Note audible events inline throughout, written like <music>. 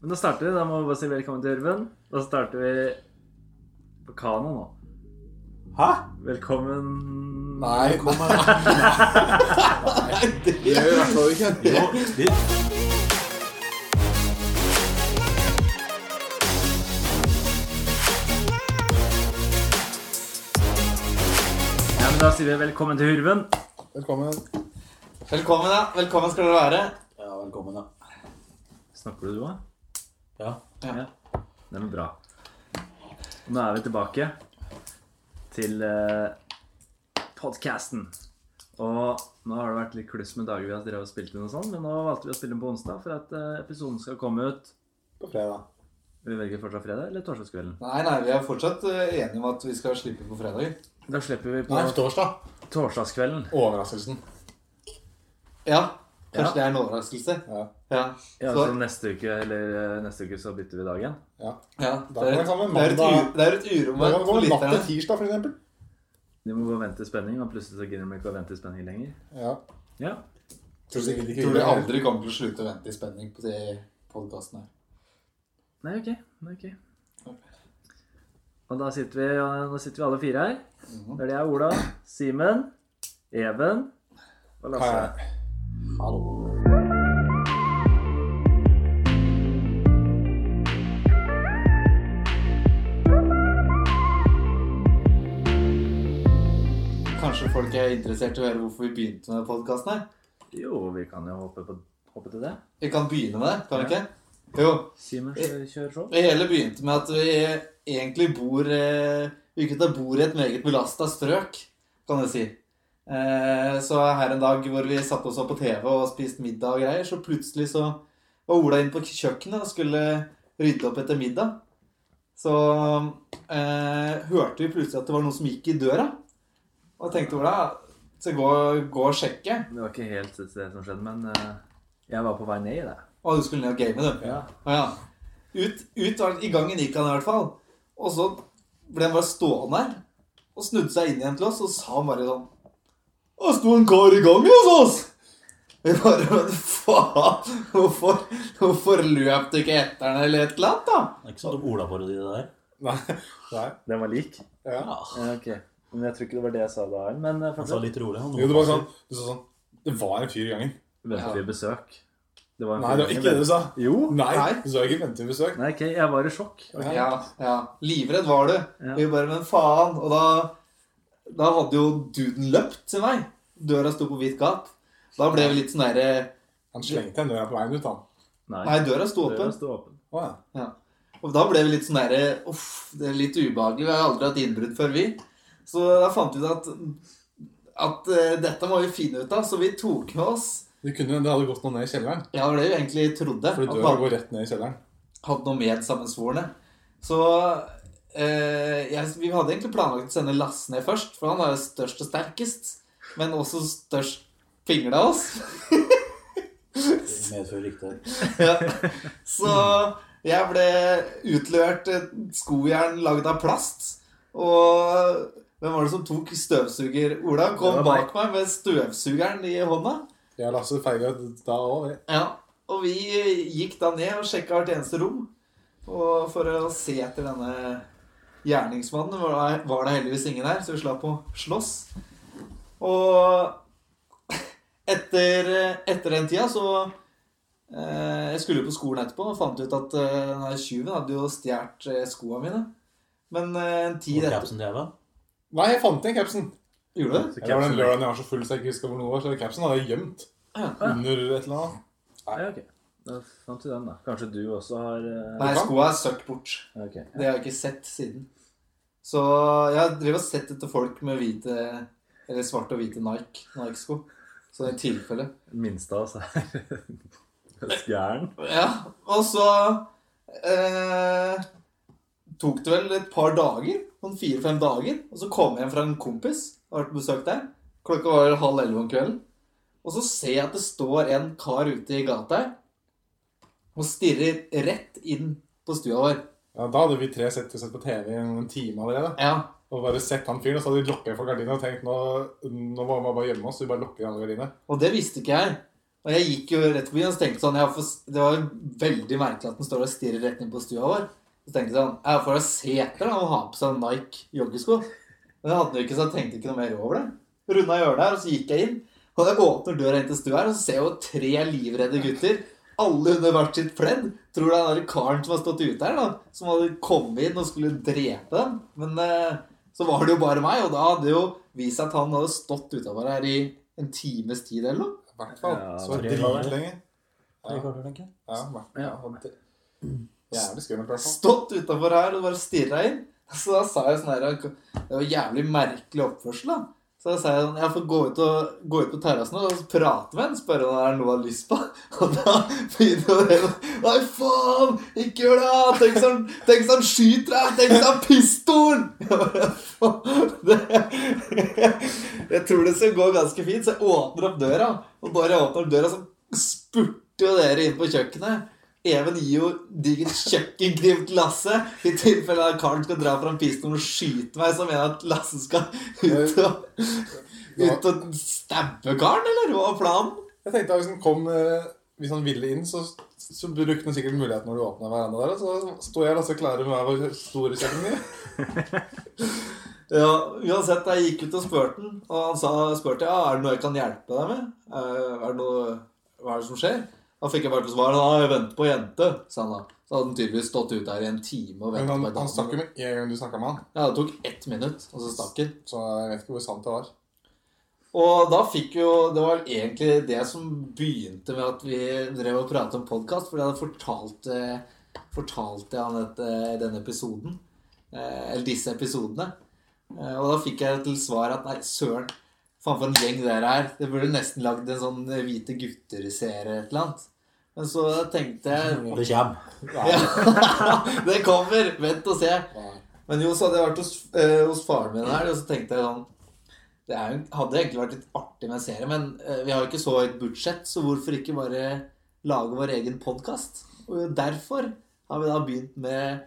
Men da starter vi. Da må vi bare si velkommen til Urban. Da starter vi på Kano nå. Hæ? Velkommen Nei, kom her. <laughs> Nei, det gjør jeg i hvert fall ikke. Jo, vi, Ja, men Da sier vi velkommen til Hurven. Velkommen. Velkommen, ja. Velkommen skal dere være. ja, velkommen, ja. Snakker du, du òg? ja. Nei, men bra. Nå er vi tilbake til eh, podcasten. Og nå har det vært litt kluss med dager vi har drevet og spilt inn og sånn, men nå valgte vi å spille den på onsdag for at eh, episoden skal komme ut På fredag. Vi velger fortsatt fredag eller torsdagskvelden. Nei, nei, vi er fortsatt eh, enige om at vi skal slippe på fredager. Da slipper vi på Nei, på torsdag. torsdagskvelden. Overraskelsen. Ja. Ja. Kanskje det er en overraskelse. Ja. sånn- Ja. Ja, Så- så neste uke, eller eh, neste uke så bytter vi dagen. ja. ja. Da Det, er kan vi et, komme det, er et mandag- u, det er et Da kan uromoment vi for gå natt lytterne. til tirsdag, for eksempel. De må gå og vente i spenning, og plutselig så gidder de ikke å vente i spenning lenger. Ja. Ja, Tror sikkert ikke Tror vi gjør det. aldri kommer til å slutte å vente i spenning på de podkastene her. Nei, ok. Nei, ok. Og da sitter vi, ja, nå sitter vi alle fire her. Mhm. Der det er Ola, Simen, Even og Lasse. Hei. Kanskje folk er interessert i å høre hvorfor vi begynte med podkasten her? Jo, vi kan jo hoppe, på, hoppe til det. Vi kan begynne med det, kan vi Ja. ikke? Jo. Simen, kjør, kjør show. Det hele begynte med at vi egentlig bor eh, Vi gutta bor i et meget belasta strøk, kan jeg si. Eh, Så her en dag hvor vi satte oss opp på TV og spiste middag og greier, så plutselig så var Ola inne på kjøkkenet og skulle rydde opp etter middag. Så eh, hørte vi plutselig at det var noen som gikk i døra. Og jeg tenkte Ola, så gå, gå og sjekke. Det var ikke helt det som skjedde, men eh, jeg var på vei ned i det. Og du skulle ned og game, du. Ja. Å ja. Ut, ut var i gangen gikk han i hvert fall. Og så ble han bare stående her og snudde seg inn igjen til oss og sa han bare sånn Det sto en kar i gangen hos oss! Vi bare Men faen! Hvorfor, hvorfor løp du ikke etter han eller et eller annet, da? Det er ikke sånn at Ola-parodi det der. <laughs> Nei. Nei. Den var lik? Ja. Ja. Ja, ok. Men jeg tror ikke det var det jeg sa da, Arn, men eh, Han sa fortsatt. litt rolig. Han Jo, det var sånn Du sa sånn Det var en fyr i gangen. Venter vi besøk? Det var en Nei, det var fyr- ikke det du sa. Jo. Nei. Nei. Du sa ikke 'vente til besøk'. Nei, ok, jeg var i sjokk. Ja. Ja, ja. Livredd var du. Ja. Vi bare Men faen! Og da, da hadde jo duden løpt til meg. Døra sto på vidt gap. Da ble vi litt sånn derre Han slengte en dør på veien ut, han. Nei, døra sto åpen. Døra sto åpen. Å ja. Og da ble vi litt sånn derre Uff, det er litt ubehagelig. Vi har aldri hatt innbrudd før, vi. Så da fant vi ut at, at eh, dette må vi finne ut av. Så vi tok med oss Det kunne Det hadde gått noe ned i kjelleren. Ja, det var det vi egentlig trodde. Fordi At døra man går rett ned i kjelleren. hadde noe med sammensvorne. Så eh, jeg, vi hadde egentlig planlagt å sende Lasse ned først, for han er jo størst og sterkest. Men også størst fingle av oss. Medfører riktig. Ja. Så jeg ble utlevert et skojern lagd av plast. Og hvem var det som tok støvsuger? Ola kom Det var meg. bak meg med støvsugeren i hånda. Jeg og Lasse feiga da òg, vi. Ja. Og vi eh, gikk da ned og sjekka hvert eneste rom. Og for å se etter denne gjerningsmannen var det, var det heldigvis ingen her, så vi slapp å slåss. Og etter, etter den tida så eh, Jeg skulle jo på skolen etterpå og fant ut at eh, den her tjuven hadde jo stjålet eh, skoa mine. Men eh, en tid Og etter capsen til Eva. Nei, jeg fant igjen capsen. Gjorde du det? Så Det var den capsen- lørdagen jeg var så full så jeg ikke husker hvor noe var, så capsen hadde jeg gjemt Ja. under et eller annet. Ja, ok. Da fant vi den, da. Kanskje du også har eh, Nei, skoa er søkk bort. Ok. Det har jeg ikke sett siden. Så jeg driver og sett etter folk med hvite Eller svarte og hvite Nike Nike-sko. Så i tilfelle. Minste <laughs> av oss er gæren. Ja, og så eh, tok det vel et par dager, sånn fire-fem dager, og så kom jeg hjem fra en kompis og vært på besøk der. Klokka var vel halv elleve om kvelden. Og så ser jeg at det står en kar ute i gata her og stirrer rett inn på stua vår. Ja, da hadde vi tre sett, sett på TV i en time allerede. Ja, Og bare sett han fyren, og så hadde vi lukket for gardina og tenkt nå, nå må vi bare gjemme oss. så Vi bare lukker alle gardinene. Og det visste ikke jeg. Og jeg gikk jo rett forbi og så tenkte jeg sånn jeg får, Det var jo veldig merkelig at den står og stirrer rett inn på stua vår. Så tenkte jeg sånn Jeg får da se etter da, og ha på seg Nike joggesko. Men jeg hadde den jo ikke, så jeg tenkte ikke noe mer over det. Runda hjørnet her, og så gikk jeg inn. Og jeg åpner døra inn til stua her, og så ser jeg jo tre livredde gutter. Alle under hvert sitt pledd. Tror du det er den der karen som har stått ute her, da? Som hadde kommet inn og skulle drepe dem? Men eh, så var det jo bare meg, og da hadde det jo vist seg at han hadde stått utafor her i en times tid eller noe. I hvert fall. Ja, Så tre dager. dritlenge. Tre kvarter, tenker jeg. Ja, i hvert Ja. fall. Jævlig skummelt, i hvert fall. stått utafor her og bare stirra inn. Så da sa jeg sånn her Det var jævlig merkelig oppførsel, da. Så da sa jeg sånn Jeg får gå ut, og, gå ut på terrassen og prate med en, spørre om det er noe han har lyst på. <laughs> Og da begynner jo det sånn Nei, faen! Ikke gjør det! da! Tenk hvis han, tenk hvis han skyter deg! Tenk hvis han har pistolen! Jeg bare, faen, det- <laughs> Jeg tror det skal gå ganske fint, så jeg åpner opp døra. Og bare jeg åpner opp døra, så spurter jo dere inn på kjøkkenet. Even gir jo digert kjøkkenkniv til Lasse i tilfelle at Karen skal dra fram pistolen og skyte meg, så mener jeg at Lasse skal ut og, ut og stabbe Karen, eller? Hva var planen? Jeg tenkte at hvis han kom eh, Hvis han ville inn, så, så brukte han sikkert muligheten når du åpna veranda der. og Så sto jeg og så klare med hver vår store kjøkkenliv. Ja, uansett, jeg gikk ut og spurte han, og han sa, spurte ja, er det noe jeg kan hjelpe deg med? Eh, Er det noe, hva er det som skjer? Da fikk jeg bare til svar, ja, jeg venter på jente, sa han da. Så hadde han tydeligvis stått ute her i en time og Men ventet han, på en han stakk jo dame. med en gang du snakka med han. Ja, det tok ett minutt, og så stakk han. Så jeg vet ikke hvor sant det var. Og da fikk jo Det var egentlig det som begynte med at vi drev og pratet om podkast, for jeg hadde fortalt, eh, fortalt jeg han dette- denne episoden. eh, Eller disse episodene. Eh, Og da fikk jeg til svar at nei, søren, faen for en gjeng dere er. Det burde nesten lagd en sånn Hvite gutter-serie et eller annet. Men så tenkte jeg <laughs> Og det kommer. Ja, <laughs> det kommer! Vent og se. Men jo, så hadde jeg vært hos, eh, hos faren min her, og så tenkte jeg sånn Det er jo, hadde egentlig vært litt artig med en serie, men eh, vi har jo ikke så høyt budsjett, så hvorfor ikke bare lage vår egen podkast? Og derfor har vi da begynt med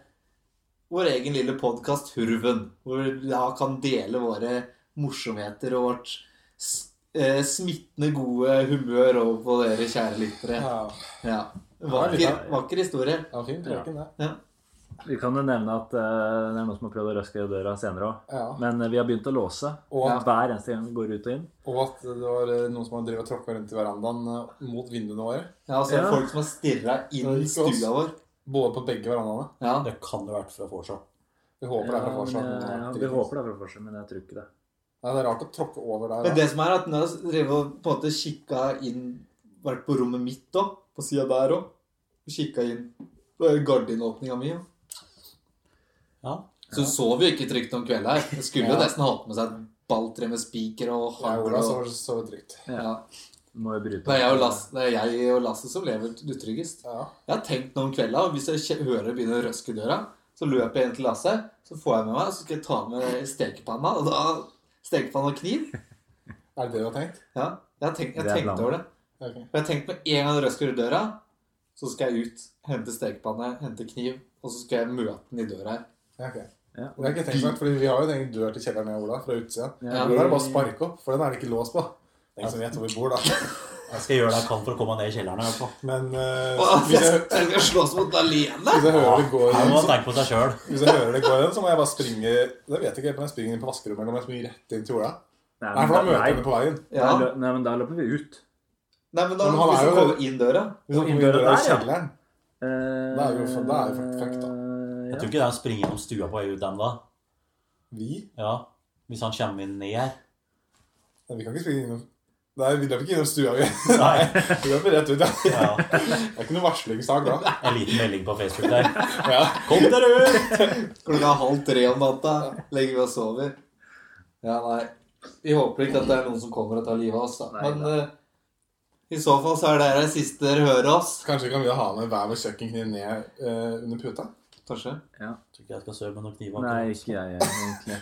vår egen lille podkast Hurven, hvor vi da kan dele våre morsomheter og vårt s- eh, smittende gode humør over på dere kjære lyttere. Ja, Ja. Vakker, vakker historie. ja fin preken, det. Vi kan jo nevne at eh, det er noen som har prøvd å røske i døra senere òg. Ja. Men eh, vi har begynt å låse Og, hver eneste gang vi går ut og inn. og at det var eh, noen som hadde drevet og tråkka rundt i verandaen eh, mot vinduene våre. Ja, altså Ja. folk som har stirra inn i Det er ikke oss. stua vår. Både på begge verandaene. Ja. Det kan det ha vært fra Forsa. Vi håper det er fra Ja, Farsa. men, eh, ja, vi håper det er fra Forsa, men jeg tror ikke det. Nei, det er rart å tråkke over der. Men da. det som er at nå har jeg drevet og på en måte kikka inn Vært på rommet mitt òg, på sida der òg. Og kikka inn. Det var jo gardinåpninga mi. jo. Ja. Så hun sov jo ikke trygt om kvelden her. Jeg skulle jo Ja. nesten hatt med seg et balltre med spiker og Ja, hagl. Ola og- sover sover trygt. Ja. Må jo bryte Det er jeg og opp. Lasse, det er jeg og Lasse som lever utryggest. Ja. Jeg har tenkt noe om kvelden, og hvis jeg kje- hører det begynner å røske i døra, så løper jeg inn til Lasse, så får jeg med meg, så skal jeg ta med stekepanna, og da stekepanna og kniv. Er det det du har tenkt? Ja, jeg har tenkt, jeg Det er tenkte planen. over det. Ja, ok. Og jeg tenkte med en gang det røsker i døra, så skal jeg ut, hente stekepanne, hente kniv, og så skal jeg møte den i døra her. Ja, ok. Ja. Det har jeg ikke tenkt meg, fordi vi har jo en egen dør til kjelleren jeg og Ola fra utsida. Ja, Det er det bare å sparke opp, for den er det ikke lås på. Det er ingen som vet hvor vi bor, da. Jeg skal gjøre det jeg kan for å komme meg ned i kjelleren. i hvert fall. Men eh, Åh, hvis, jeg, jeg skal slåss mot den alene! hvis jeg hører det går Her igjen, må man så, tenke på seg sjøl. hvis jeg hører det går igjen, så må jeg bare springe Det vet jeg ikke helt om jeg springer inn på vaskerommet eller om jeg springer rett inn til Ola. Nei, Nei, for men da da- møter jeg henne på veien. Nei, Ja. lø- nei, men da løper vi ut. Nei, men da, Men han hvis er jeg jo- kommer inn døra, Hvis hun Inn kommer inn døra døra i der, ja. kjelleren. Eh, Da er vi jo for- da er vi for fucked, da. eh, Jeg ja. tror ikke det er å springe gjennom stua på vei ut den da. Vi Ja. Hvis han kommer inn ned <laughs> her. Nei, vi kan ikke springe innom Nei, vi løper ikke innom stua, vi. <laughs> Nei. Vi løper rett ut, ja. Ja. Det er ikke noe varslingssak da. En liten melding på Facebook der. Ja. Kom dere ut! klokka halv tre om natta, legger vi oss over. Ja, nei. Vi håper ikke at det er noen som kommer og tar livet av oss, da. Nei, Men eh, i så fall så er det det siste dere hører oss. Kanskje kan vi ha med hver vår kjøkkenkniv ned eh, under puta? Kanskje. Jeg tror ikke jeg skal sove med noen kniver. Nei, ikke jeg egentlig. Men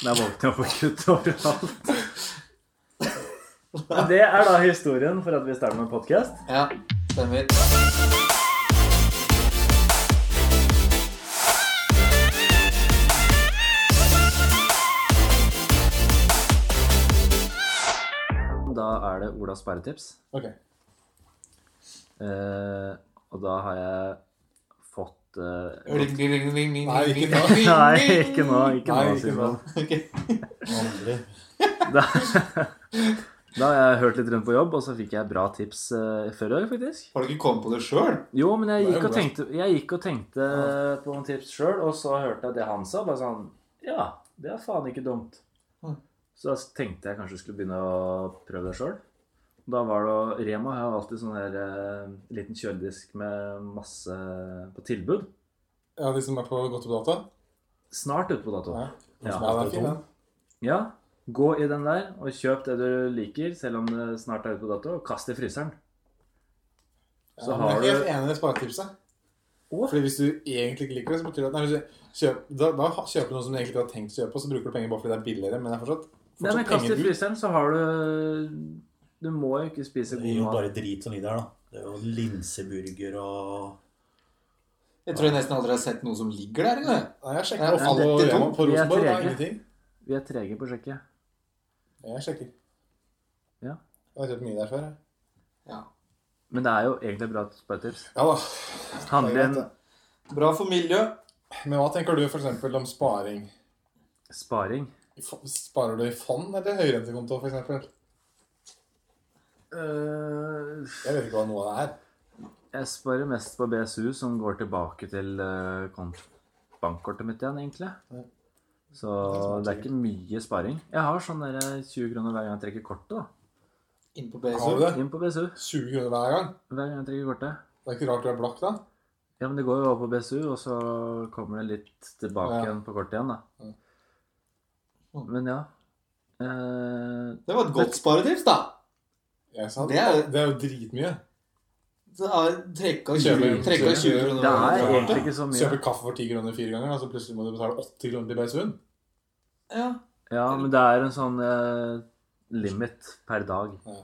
jeg <laughs> våkner opp og kutter overalt. Men det er da historien for at vi starter med podkast. Ja, stemmer. Da er det Olas sperretips. Ok. Eh, og da har jeg fått eh, <laughs> Ring, ring, ring, ring, ring, Nei, ikke ring, nå. ring, ring. Nei, ikke nå. Ikke Nei, nå, sånn. ikke Simon. Ok. Aldri. Da, da har jeg hørt litt rundt på jobb, og så fikk jeg bra tips eh, før i dag, faktisk. Har du ikke kommet på det sjøl? Jo, men jeg Det er gikk og jo bra. tenkte, jeg gikk og tenkte på noen tips sjøl, og så hørte jeg det han sa, bare sånn Ja, det er faen ikke dumt. Mm. Så da tenkte jeg kanskje skulle begynne å prøve det sjøl. Da var det å- Rema har jo alltid sånn her eh, liten kjøledisk med masse på tilbud. Ja, de som er på godt opp data? Snart ute på dato. Ja. Ja. Ja, den er fin, den. Ja, gå i den der og kjøp det du liker, selv om det snart er ute på dato, og kast det i fryseren. Så Ja, men har jeg er du helt enig i det sparetipset. Å, Fordi hvis du egentlig ikke liker det, så betyr det at nei, hvis du kjøp, da, da kjøper du noe som du egentlig ikke har tenkt å kjøpe, og så bruker du penger bare fordi det er billigere, men det er fortsatt, Nei, men fortsatt kast det i penger ut. fryseren, så har du Du må jo ikke spise Det god gir jo mat. bare drit som lider her, da. Det er jo linseburger og Jeg tror jeg nesten aldri har sett noen som ligger der engang. Nei, jeg Ja, sjekker men Ofal og dette Rema to- på vi er Rosenborg, det trege. er ingenting. Vi er trege på å sjekke. Jeg sjekker. Ja. Jeg har kjøpt mye der før, jeg. Ja. Men det er jo egentlig bra sparetips. Ja da. Handle inn Det er greit, Bra for miljø. Men hva tenker du for eksempel om sparing? sparing. I fo- Sparer du i fond eller høyrentekonto, for eksempel? Eh, Jeg vet ikke hva noe av det er. jeg sparer mest på BSU, som går tilbake til eh, kont- bankkortet mitt igjen, egentlig. Ja. Så det er ikke mye sparing. Jeg har sånn der 20 kroner hver gang jeg trekker kortet. da. Inn på Har BSU. du det? Inn på BSU 20 kroner hver gang? hver gang jeg trekker kortet. Det er ikke rart du er blakk, da. Ja, men det går jo over på BSU, og så kommer det litt tilbake Ja. igjen på kortet igjen, da. Ja. Men ja. Eh, Det var et godt sparetips, da. Jeg sa Det det. er- Det er jo dritmye. Så har- Trekk av 20 Kjøper- trekk av 20 kjøper- kroner. det er Ja. egentlig ikke så mye. Kjøper kaffe for 10 kroner fire ganger, og så plutselig må du betale 80 kroner til BSU-en. Ja. Ja, men det er en sånn eh, limit per dag Ja.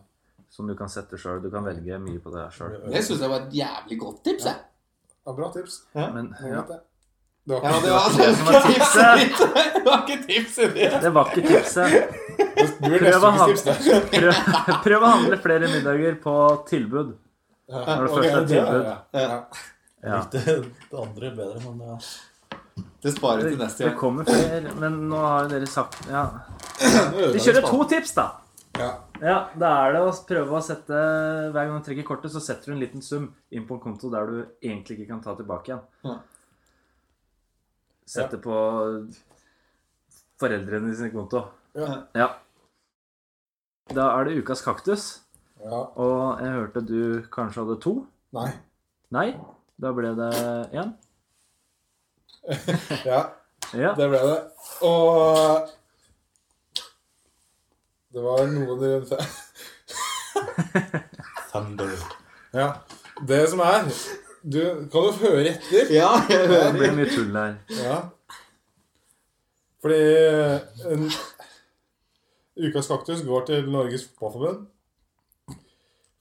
som du kan sette sjøl. Du kan velge mye på det sjøl. Det syns jeg var et jævlig godt tips, jeg. Ja, bra tips. Men Det var ja, godt, det. Det var Ja, ikke det var, det som var var ikke tipset ditt! <laughs> Det var ikke tipset ditt. det var ikke tipset. Du blir Prøv å neste ha- ukes <laughs> tips, det. Prøv, prøv å handle flere middager på tilbud. Ja, Når det ok, først er det er- tilbud. ja. Ja. Ja. Det, <laughs> det andre er bedre, men det, Det sparer Det, til neste det gang. kommer flere, men nå har jo dere sagt Ja. Nå ødelegger Vi kjører spaden. to tips, da. Ja. Ja, da er det å prøve å sette Hver gang du trekker kortet, så setter du en liten sum inn på en konto der du egentlig ikke kan ta tilbake igjen. Ja. Sette på foreldrene sin konto. Ja. Ja. Da er det ukas kaktus, ja. og jeg hørte du kanskje hadde to. Nei. Nei, da ble det én. Ja, Ja. det ble det. Og Det var noe du Thunder. <laughs> Ja. Det som er Du kan jo høre etter. Ja, jeg Det hører. blir mye tull her. Ja. Fordi eh, en, Ukas kaktus går til Norges Fotballforbund.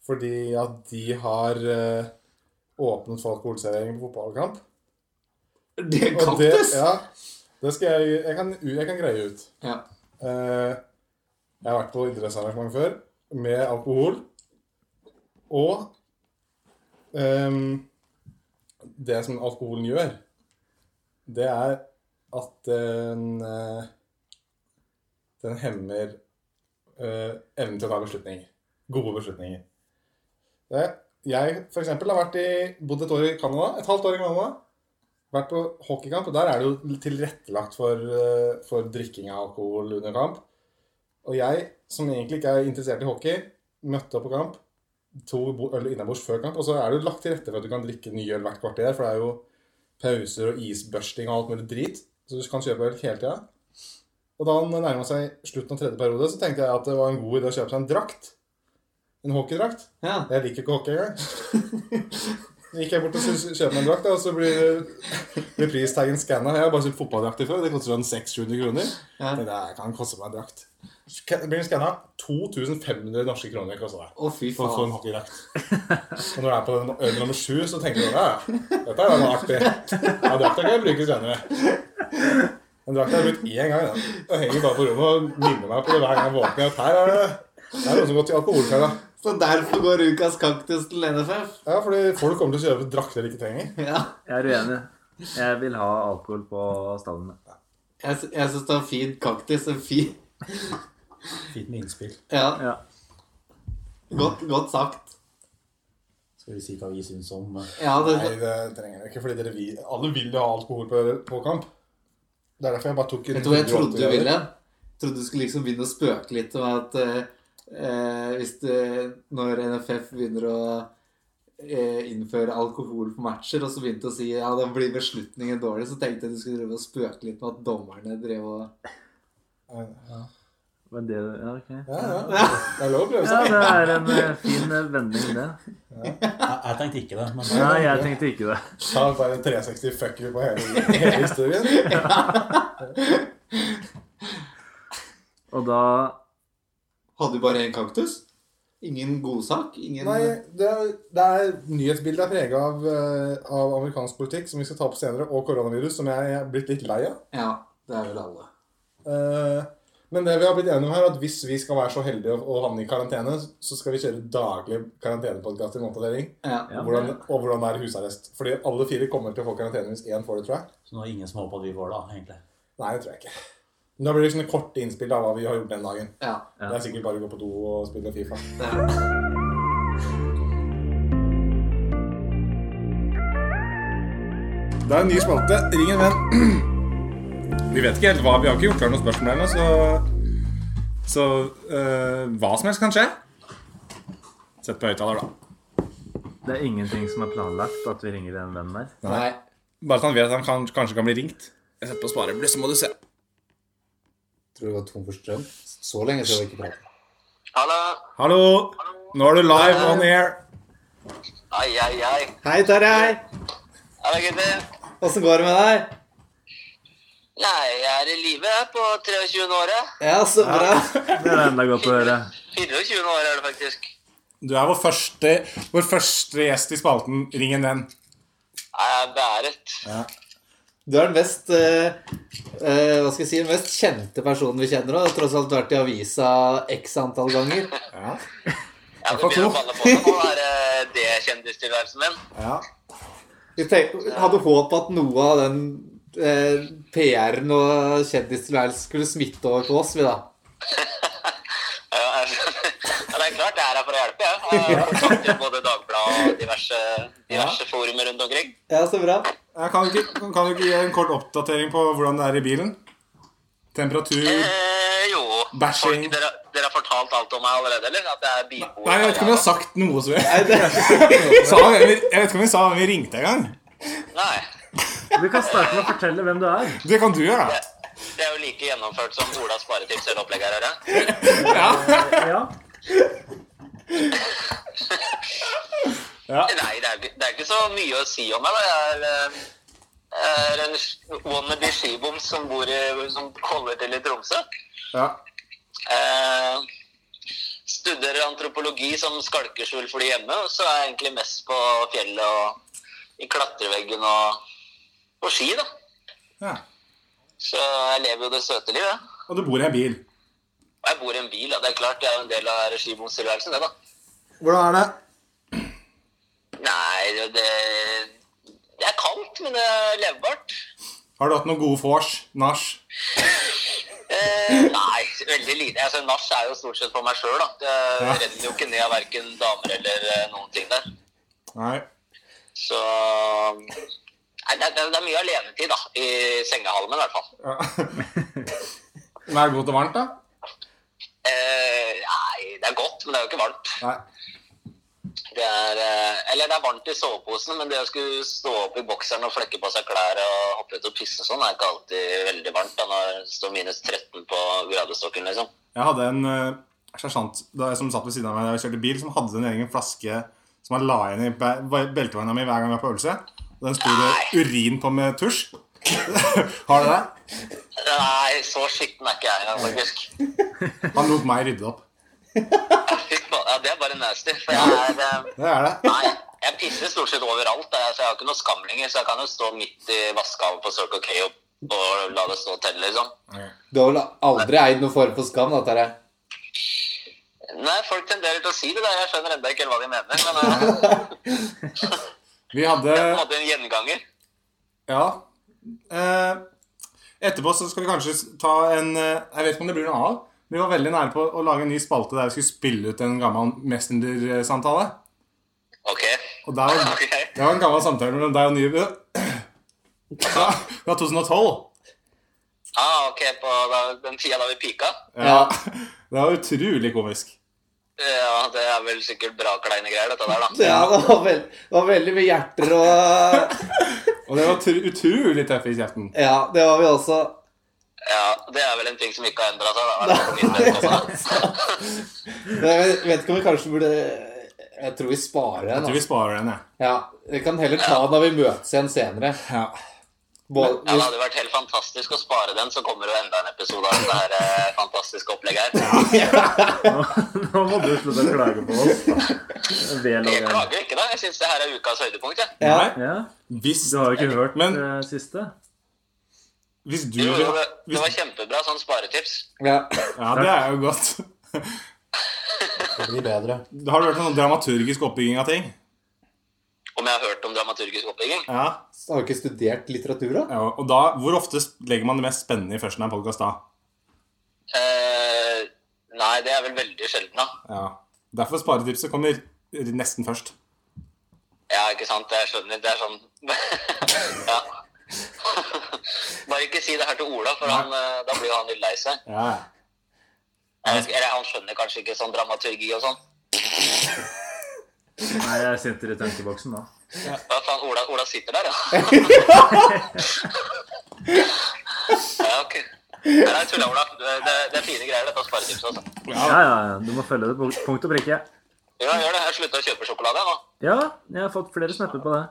Fordi at de har eh, åpnet for alkoholservering på fotballkamp. Det er Og det, kaktus! ja, det skal jeg, jeg, kan, jeg kan greie ut. Ja. Eh, jeg har vært på idrettsarrangement før med alkohol. Og ehm, det som alkoholen gjør, det er at den eh, Den hemmer eh, evnen til å ta beslutninger. Gode beslutninger. Det, jeg for eksempel, har vært i, bodd et år i Canada. Et halvt år i Canada. Vært på hockeykamp, og der er det jo tilrettelagt for, eh, for drikking av alkohol under kamp. Og jeg, som egentlig ikke er interessert i hockey, møtte opp på kamp, to bo- øl innabords før kamp, og så er det jo lagt til rette for at du kan drikke ny øl hvert kvarter, for det er jo pauser og isbørsting og alt mulig drit, så du kan kjøpe øl hele tida. Og da han nærma seg slutten av tredje periode, så tenkte jeg at det var en god idé å kjøpe seg en drakt. En hockeydrakt. ja. Jeg liker ikke hockey engang. Så gikk jeg bort og sy- kjøpte meg en drakt, da, og så blir, blir pristaggen skanna. Jeg har bare kjøpt fotballdrakter før. Det koster sånn 600-700 kroner. Ja. Jeg tenkte, jeg kan koste meg en drakt. Sk- Blir den skanna 2500 norske kroner kosta det. Å, fy For å få en faen. hockeydrakt. Og når du er på den øl nummer sju, så tenker du ja, ja, dette er jo noe artig. Ja, drakta kan jeg bruke senere. Den drakta har jeg brukt én gang. Den. den henger bare på rommet og minner meg på det hver gang jeg våkner. At her er det, det er noe som går til alkoholfella. Så derfor går ukas kaktus til NFF. Ja, fordi folk kommer til å kjøpe drakter de ikke trenger. Ja. Jeg er uenig. Jeg vil ha alkohol på stallene. Jeg, sy- jeg syns det var en fin kaktus. En fin Fint med innspill. Ja, Ja. godt, godt sagt. Skal vi si hva vi syns om eh, Ja, Nei, det, det trenger dere ikke, fordi dere vil, alle vil jo ha alkohol på, på kamp. Det er derfor jeg bare tok en vet du hva jeg video trodde du alltid. ville? Jeg trodde du skulle liksom begynne å spøke litt om at eh, eh, hvis det, når NFF begynner å eh, innføre alkohol på matcher, og så begynte å si ja, da blir beslutningen dårlig, så tenkte jeg du skulle drive og spøke litt med at dommerne drev og Ja, Men det, ja, ok. ja. <laughs> ja. Det er lov å prøve ja, seg. det er en eh, fin eh, vending, det. Jeg, jeg tenkte ikke det, men Nei, jeg tenkte ikke det. Ta bare en 360 fuck you på hele, hele historien. <laughs> Og da Hadde du bare én kaktus? Ingen godsak? Ingen Nei, det er, det er nyhetsbildet er prega av, eh, av amerikansk politikk, som vi skal ta opp senere, og koronavirus, som jeg er blitt litt lei av. Ja, det er vel alle. Eh, Men det vi har blitt enige om her, er at hvis vi skal være så heldige å, å havne i karantene, så skal vi kjøre daglig karantenepodkast i månedsavdeling. Ja. Ja. Og hvordan, og hvordan er husarrest? Fordi alle fire kommer til å få karantene hvis én får det, tror jeg. så nå er det ingen som håper at vi får det, da, egentlig. Nei, det tror jeg ikke. Men da blir det sånne korte innspill av hva vi har gjort den dagen. ja. Ja. Det er sikkert bare å gå på do og spille Fifa. Det er. Det er en ny spalte. Ring en venn. <clears throat> Vi vet ikke helt hva Vi har ikke gjort klar noen spørsmål ennå, så Så eh, hva som helst kan skje. Sett på høyttaler, da. Det er ingenting som er planlagt at vi ringer en venn der. Nei. Bare så han vet at han kan, kanskje kan bli ringt. Jeg setter på sparebluss, så må du se. Tror du var tom for strøm? Så lenge skal vi ikke prate. Hallo! Hallo! Nå er du live on air. Ai, ai, ai. Hei, Tarjei. Hallo, gutter. Åssen går det med deg? Nei, jeg er i live jeg, på 23. året. Ja, så bra. Det er enda godt å høre. 24. året er det faktisk. Du er vår første, vår første gjest i spalten. Ring en venn. Nei, Jeg er beæret. Du er den mest eh, eh, Hva skal jeg si, den mest kjente personen vi kjenner. Og har tross alt vært i avisa x antall ganger. Ja. Jeg får tro. begynner å balle på meg nå, er eh, det kjendistilværelsen min. Ja. Vi tenk, hadde håp at noe av den eh, PR-en og kjendistilværelsen skulle smitte over på oss, vi da. Ja, <laughs> jeg- ja, det er klart, jeg er her for å hjelpe, jeg. Jeg har kontakt med både Dagbladet og diverse, diverse forumer rundt omkring. Ja, så bra. Jeg kan, du ikke, kan du ikke gi en kort oppdatering på hvordan det er i bilen? Temperatur Nei, Eh, jo, Bashing. folk, dere, dere har fortalt alt om meg allerede, eller? At jeg er bilboer. jeg vet ikke om vi har sagt noe som vi Nei, det, <laughs> sa Jeg vet ikke om vi sa hvem vi ringte engang. Nei, Du kan starte med å fortelle hvem du er. Det kan du gjøre. det er jo like gjennomført som Olas sparetips eller opplegg her, eller? Ja. Nei, det er, ikke- det er ikke så mye å si om meg. da. Jeg er, eh, er en sk- wannabe skibom som, bor i, som holder til i Tromsø. Ja. Eh, studerer antropologi som skalkeskjul for de hjemme, og så er jeg egentlig mest på fjellet og i klatreveggen og på ski, da. ja. Så jeg lever jo det søte livet. jeg. Og du bor i en bil. Og jeg bor i en bil, da. Det er klart, det er jo en del av regibomstilværelsen, det, da. Hvordan er det? Nei, det, det det er kaldt, men det er levbart. Har du hatt noen gode vors? Nach? Eh, nei, veldig lite. Altså, Nach er jo stort sett for meg sjøl. Det Ja. renner jo ikke ned av verken damer eller eh, noen ting der. Nei. Så Nei, det, det, det er mye alenetid, da. I sengehalmen, i hvert fall. <laughs> Ja. Men er det godt og varmt, da? Eh, nei, det er godt, men det er jo ikke varmt. Nei. Det er, eh, eller det er varmt i soveposen, men det å skulle stå opp i bokseren og flekke på seg klær og hoppe ut og pisse og sånn, er ikke alltid veldig varmt da, når det står minus 13 på gradestokken, liksom. Jeg hadde en eh, sersjant da jeg- som satt ved siden av meg da jeg kjørte bil, som hadde en egen flaske som han la inn i be- beltevannet mi hver gang jeg var på øvelse. Og Den sto det urin på med tusj. <laughs> Har du det? Nei, så skitten er ikke jeg engang, faktisk. Han lot meg rydde det opp. Fy faen, Ja, det er bare nasty. For jeg er eh, Det er det. Nei, jeg pisser stort sett overalt. da, Så jeg har ikke noen skam lenger. Så jeg kan jo stå midt i vaskehavet på Circle K og, og la det stå til, liksom. du har vel aldri eid noen form for skam, da, Tarjei? Nei, folk tenderer til å si det der. Jeg skjønner ennå ikke helt hva de mener. Men eh, Vi det er på en hadde måte en gjenganger. Ja. Eh, etterpå så skal vi kanskje ta en eh, Jeg vet ikke om det blir noe av. Vi var veldig nære på å lage en ny spalte der vi skulle spille ut en gammel Messenger-samtale. Ok. Og der var, <laughs> Ok. det var en gammel samtale mellom deg og Nyby. <clears throat> Ja, det var 2012. Ah, ok, på da, den tida da vi pika? Ja. Det var utrolig komisk. Ja, det er vel sikkert bra kleine greier, dette der, da. Ja, det var, veld, det var veldig mye hjerter og Og det var tru- utrolig tøffe i kjeften. Ja, det var vi også. Ja, Det er vel en ting som ikke har endra seg, da. i hvert fall for min vedkommende. <laughs> Men Jeg vet ikke om vi kanskje burde Jeg tror vi sparer Jeg den. tror vi Altså. sparer den, jeg. Ja, Vi kan heller ta den når vi møtes igjen senere. Ja. Både, Ja, det hadde vært helt fantastisk å spare den, så kommer det jo enda en episode av dette her, eh, fantastiske opplegget her. Nå må du slutte å klage på oss. Vel Jeg over. klager ikke, da. Jeg syns det her er ukas høydepunkt, jeg. ja, Ja, Hvis, du har jo ikke hørt Men- eh, siste. hvis du Jo, jo, det, det var hvis, kjempebra sånn sparetips. ja. Ja, det er jo godt. <laughs> Det blir bedre. Har du hørt om sånn dramaturgisk oppbygging av ting? Om jeg har hørt om dramaturgisk oppbygging? Ja. Har du ikke studert litteratur, da? <laughs> ja. Og da, hvor ofte legger man det mest spennende i førsten av en podkast da? Eh, nei, det er vel veldig sjelden, da. Ja. Derfor sparetipset kommer nesten først. Ja, ikke sant. Jeg skjønner. Det er sånn <laughs> Ja. <laughs> Bare ikke si det her til Ola, for han, eh, da blir jo han litt lei seg. Ja. Jeg vet ikke- Eller han skjønner kanskje ikke sånn dramaturgi og sånn. Nei, jeg sitter i tenkeboksen nå. Hva faen, Ola, Ola sitter der, <laughs> ja. ja, ok. Nei, tulla, Ola. Det, det, det er fine greier, dette sparetipset. Altså. Ja, ja, ja, du må følge det på punkt og prikke. Ja, gjør det. Jeg slutta å kjøpe sjokolade jeg, nå. Ja, jeg har fått flere snapper på det.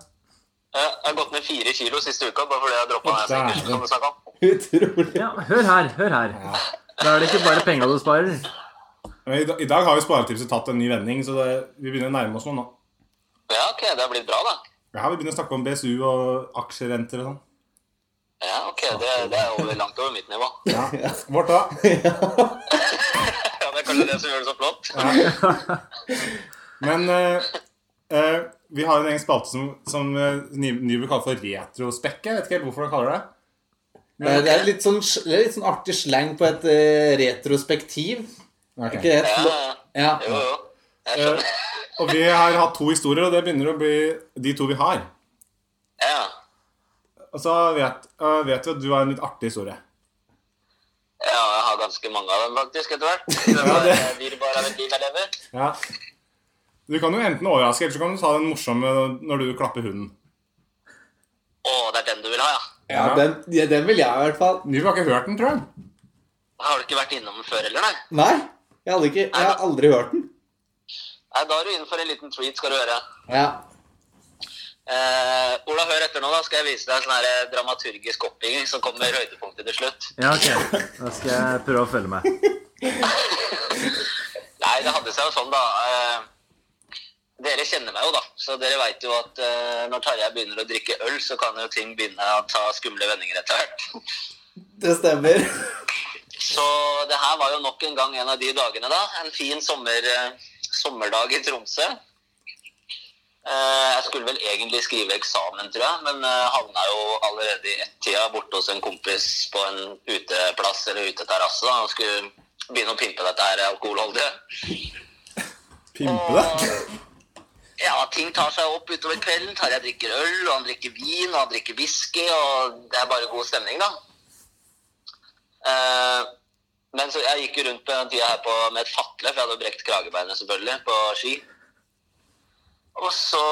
Jeg har gått ned fire kilo siste uka bare fordi jeg droppa den sneakers, som du snakket om. Utrolig. Ja, hør her, hør her. Da er det ikke bare penga du sparer. Men I, da- I dag har jo sparetipset tatt en ny vending, så det, vi begynner å nærme oss noe nå. Ja, ok. Det har blitt bra, da. Ja, vi begynner å snakke om BSU og aksjerenter og sånn. Ja, ok. Det, det er over, langt over mitt nivå. <laughs> <laughs> Ja. Vårt da. Ja, Det er kanskje det som gjør det så flott. Men eh, eh, vi har en egen spalte som, som eh, Ny- Nyby kaller for retrospekk. Jeg vet ikke helt hvorfor han kaller det. Eh, Det er litt sånn, det er litt sånn artig slang på et eh, retrospektiv. Ok. Ikke det? Ja, Nå- ja. Ja. jo, jo. Jeg Eh, skjønner. og vi har hatt to historier, og det begynner å bli de to vi har. Ja. Og så vet, eh, vet vi at du har en litt artig historie. ja, jeg har ganske mange av dem faktisk etter <laughs> hvert. Det var eh, virvar av et liv jeg lever. Ja. Du kan jo enten overraske, eller så kan du ta den morsomme når du klapper hunden. Å, det er den du vil ha, ja. Ja, den, ja, den vil jeg i hvert fall. Nyby har ikke hørt den, tror jeg. Har du ikke vært innom den før heller, nei? Nei, jeg, hadde ikke, jeg har aldri hørt den. Nei, da er du innenfor en liten treat, skal du høre. Ja. Eh, Ola, hør etter nå, da skal jeg vise deg en sånn her eh, dramaturgisk oppbygging som kommer i høydepunktet til slutt. Ja, ok. Da skal jeg prøve å følge med. Nei, det hadde seg jo sånn, da. Eh, dere kjenner meg jo, da. Så dere veit jo at eh, når Tarjei begynner å drikke øl, så kan jo ting begynne å ta skumle vendinger etter hvert. Det stemmer. <laughs> Så det her var jo nok en gang en av de dagene, da. En fin sommer, eh, sommerdag i Tromsø. Eh, Jeg skulle vel egentlig skrive eksamen, tror jeg, men eh, havna jo allerede i ett-tida borte hos en kompis på en uteplass eller uteterrasse da, og skulle begynne å pimpe dette her alkoholholdige. Pimpe det. Ja, ting tar seg opp utover kvelden. Tarjei drikker øl, og han drikker vin, og han drikker whisky, og det er bare god stemning, da. Eh, men så jeg gikk jo rundt på den tida her på, med et fatle, for jeg hadde jo brekt kragebeinet selvfølgelig, på ski. Og så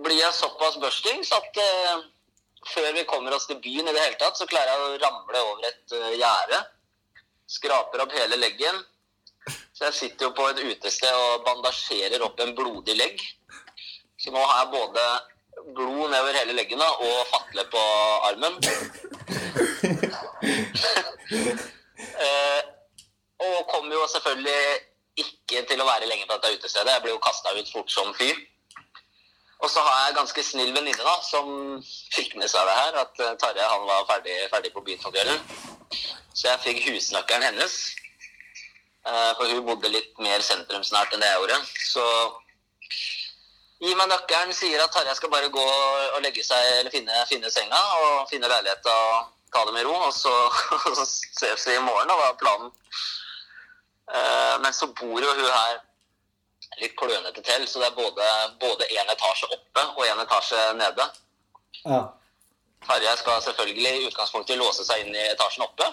blir jeg såpass børstings at eh, før vi kommer oss til byen i det hele tatt, så klarer jeg å ramle over et uh, gjerde. Skraper opp hele leggen. Så jeg sitter jo på et utested og bandasjerer opp en blodig legg. Så nå har jeg både blod nedover hele leggen da, og fatle på armen. eh, og kommer jo selvfølgelig ikke til å være lenge på dette utestedet. Jeg blir jo kasta ut fort som fyr. Og så har jeg en ganske snill venninne da, som fikk med seg det her, at eh, Tarjei han var ferdig, ferdig på byen for kvelden. Så jeg fikk husnøkkelen hennes. Eh, Eh, For hun bodde litt mer sentrumsnært enn det jeg gjorde. Så gi meg nøkkelen, sier at Tarjei skal bare gå og legge seg eller finne, finne senga og finne leiligheta og ta det med ro. Og så, <laughs> og så ses vi i morgen, og hva er planen? Eh, Men så bor jo hun her litt klønete til, så det er både, både en etasje oppe og en etasje nede. Ja. Tarjei skal selvfølgelig i utgangspunktet låse seg inn i etasjen oppe.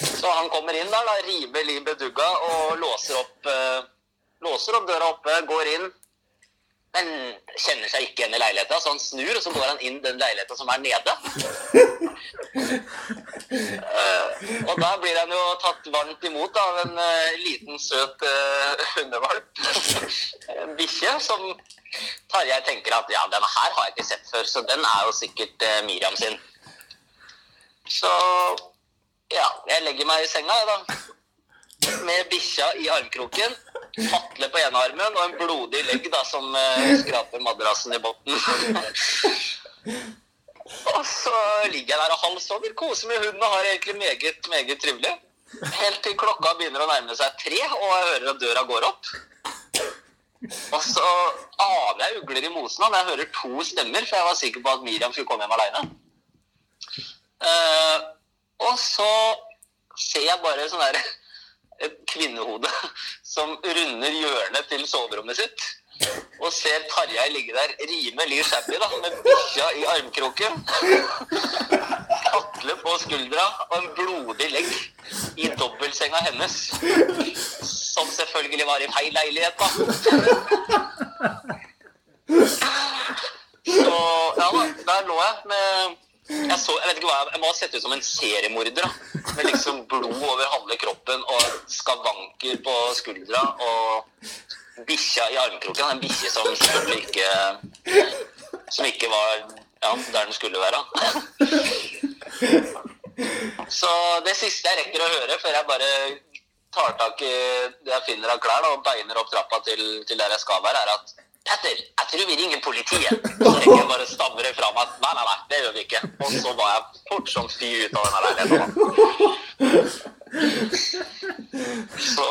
Så han kommer inn der, da, rimelig bedugga, og låser opp, eh, låser opp døra oppe, går inn. Men kjenner seg ikke igjen i leiligheta, så han snur, og så går han inn den leiligheta som er nede. Eh, og der blir han jo tatt varmt imot av en eh, liten, søt eh, hundevalp. en bikkje som Tarjei tenker at ja, denne her har jeg ikke sett før, så den er jo sikkert eh, Miriam sin. Så ja, jeg legger meg i senga, jeg, da. Med bikkja i armkroken. Hatle på ene armen og en blodig legg da, som eh, skraper madrassen i bunnen. <laughs> og så ligger jeg der og halvsover, koser med hunden og har det egentlig meget, meget trivelig. Helt til klokka begynner å nærme seg tre, og jeg hører at døra går opp. Og så aner jeg ugler i mosen når jeg hører to stemmer, for jeg var sikker på at Miriam skulle komme hjem aleine. og så ser jeg bare sånn der <laughs> et kvinnehode som runder hjørnet til soverommet sitt. Og ser Tarjei ligge der rimelig shabby, da, med bikkja i armkroken. Atle på skuldra og en blodig legg i dobbeltsenga hennes. Som selvfølgelig var i feil leilighet, da. Så ja da, der lå jeg med jeg, så, jeg vet ikke hva jeg, jeg må ha sett ut som en seriemorder. da. Med liksom blod over halve kroppen og skavanker på skuldra og bikkja i armkroken. En bikkje som selvfølgelig ikke Som ikke var ja, der den skulle være. Så det siste jeg rekker å høre før jeg bare tar tak i det jeg finner av klær da, og beiner opp trappa til, til der jeg skal være, er at Petter, jeg tror vi ringer politiet. Så rekker jeg bare å stamre fra meg at nei, nei, nei, det gjør vi ikke. Og så var jeg fort som fy ut av denne leiligheten. da. Så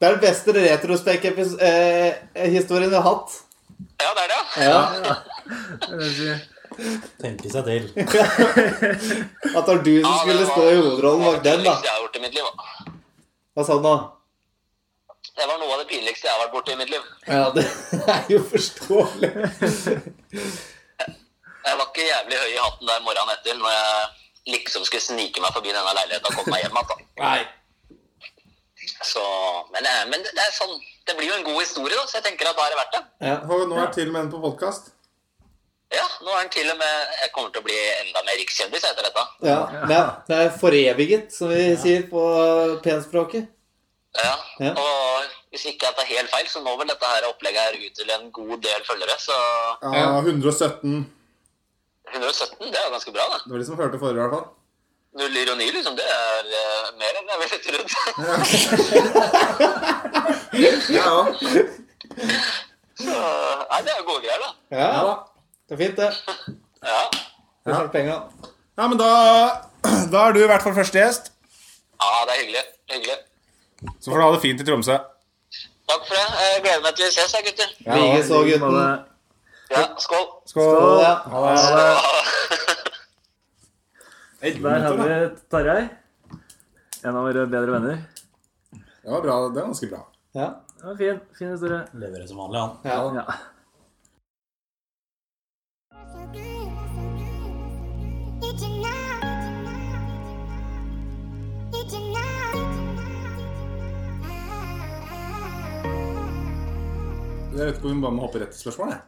Det er den beste retrospek-historien vi har hatt. Ja, det er det. Ja. Tenke seg til. At det var du som skulle stå i hovedrollen bak den, da. Det var det pinligste jeg har gjort i mitt liv. da. Hva sa du nå? Det var noe av det pinligste jeg har vært borti i mitt liv. Ja, det er jo forståelig. Jeg var ikke jævlig høy i hatten der morgenen etter, når jeg liksom skulle snike meg forbi denne leiligheten og komme meg hjem igjen. da. Nei. Så, men eh, men det, det er sånn, det blir jo en god historie, da, så jeg tenker at da er det verdt det. Ja. Og nå er det til med en på podkast. Ja, nå er den til og med Jeg kommer til å bli enda mer rikskjendis etter dette. Ja, det er, det er foreviget, som vi sier på penspråket. Ja. Ja. Og hvis ikke jeg tar helt feil, så nå vil dette her opplegget her ut til en god del følgere. Så Ja, 117. 117, det er jo ganske bra, det. Det var de som hørte forrige, i hvert fall. Null ironi, liksom. Det er eh, mer enn jeg ville trodd. Ja, <laughs> ja. Så, nei, det er jo gode greier, da. Ja, ja da. det er fint, det. Ja. Du slapp penga. Ja, men da, <clears throat> da er du i hvert fall første gjest. ja, det er hyggelig. Hyggelig. Så får du ha det fint i Tromsø. Takk for det. Jeg gleder meg til vi ses, jeg, gutter. Ja, Lige så, gutten. Ja, skål. Skål. Ja. Der hadde vi Tarjei. En av våre bedre venner. Det var bra. Det var ganske bra. Ja. Det var fin, fin historie. Leverer som vanlig, han. Ja. Ja. Jeg vet ikke om vi bare må hoppe rett til spørsmålet. jeg.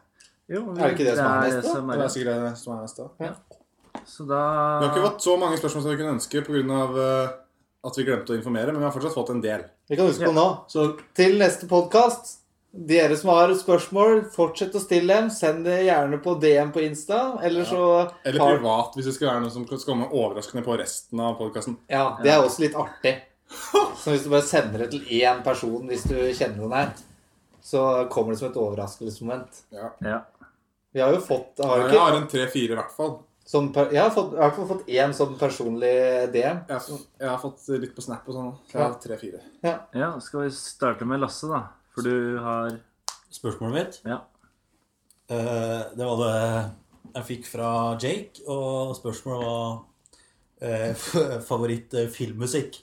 Jo, vi, Er det ikke det som er neste? som Det er er neste? sikkert det som er neste. Vi Så da har ikke fått så mange spørsmål som vi kunne ønske pga. eh, at vi glemte å informere, men vi har fortsatt fått en del. Vi kan huske på nå. Så til neste podkast dere som har spørsmål, fortsett å stille dem. Send det gjerne på DM på Insta, eller så Eller har- privat, hvis det skal være noe som skal komme overraskende på resten av podkasten. Ja, det er også litt artig. Så hvis du bare sender det til én person, hvis du kjenner noen her, så kommer det som et overraskelsesmoment. Ja. Ja. Vi har jo fått har jo Jeg ikke, har en tre-fire i hvert fall. Sånn per, jeg har fått, jeg har i hvert fall fått én sånn personlig DM. Jeg har, jeg har fått litt på Snap og sånn. Jeg har tre-fire. Ja, skal vi starte med Lasse, da? For du har Spørsmålet mitt Ja. Eh, Det var det jeg fikk fra Jake, og spørsmålet var eh, favoritt-filmmusikk.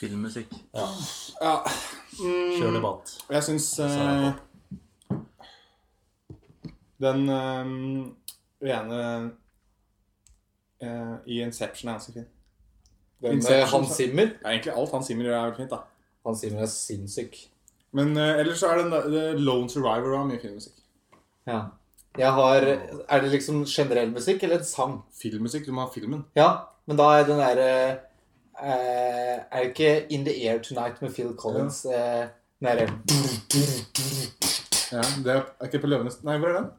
filmmusikk. Ja, Ja. Kjør debatt. Og Jeg syns eh, jeg Den eh, ene eh, i Inception er ganske fin. Den, Men, eh, eh, Hans Zimmer ja, egentlig alt Hans Zimmer gjør, er veldig fint. da. Hans Zimmer er sinnssyk. Men eh, ellers så er den der, The Lone Survivor har mye filmmusikk. Ja. Jeg har, er det liksom generell musikk eller en sang? Filmmusikk, du må ha filmen. Ja, men da er den derre eh, Er det ikke In The Air Tonight med Phil Collins? Eh, den derre Ja, det er ikke på Løvenes Nei, hvor er den?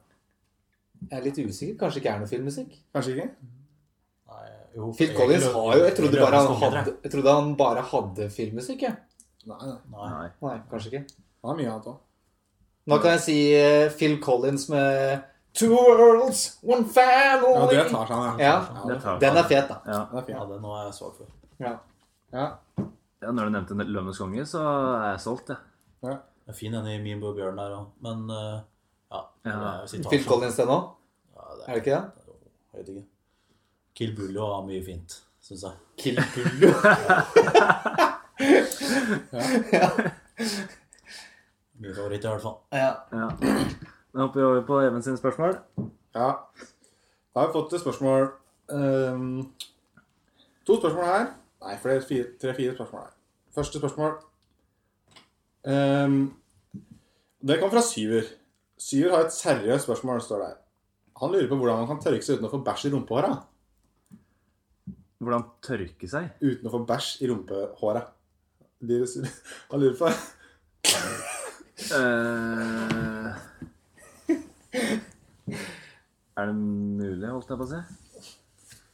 Jeg er litt usikker. Kanskje ikke er noe filmmusikk? Kanskje ikke? Nei, jo, Phil Collins egentlig- har jo Jeg trodde bare han Løvenes konge, hadde, jeg trodde han bare hadde filmmusikk, jeg. Nei, nei. Nei. Nei. Nei, kanskje ikke. Han har mye annet òg. Nå kan jeg si eh, Phil Collins med Two worlds, one family. Ja, det tar seg, han. Ja, Det tar vi. Den er fet, da. Ja. Den er fin. Ja, det nå er jeg svak for. Ja. ja, Når du nevnte Løvenes konge, så er jeg solgt, jeg. Det er fin den i Min Bo Bjørn der òg, men eh, ja. det er jo sitat. Phil Collins, den òg. Ja, det Er det ikke det? Jeg vet ikke. Kill Bullo har mye fint, syns jeg. Kill Bullo. Min favoritt, i hvert fall. <laughs> ja. Ja. Da hopper vi over på Even sine spørsmål. Ja. Da har vi fått et spørsmål Ehm, To spørsmål her. Nei, flere. fire- Tre-fire spørsmål her. Første spørsmål Ehm, Det kom fra Syver. Syver har et seriøst spørsmål, står det her. Han lurer på hvordan man kan tørke seg uten å få bæsj i rumpehåra. Hvordan tørke seg? Uten å få bæsj i rumpehåra. De- <laughs> Han lurer på Eh, <laughs> er det mulig, holdt jeg på å si?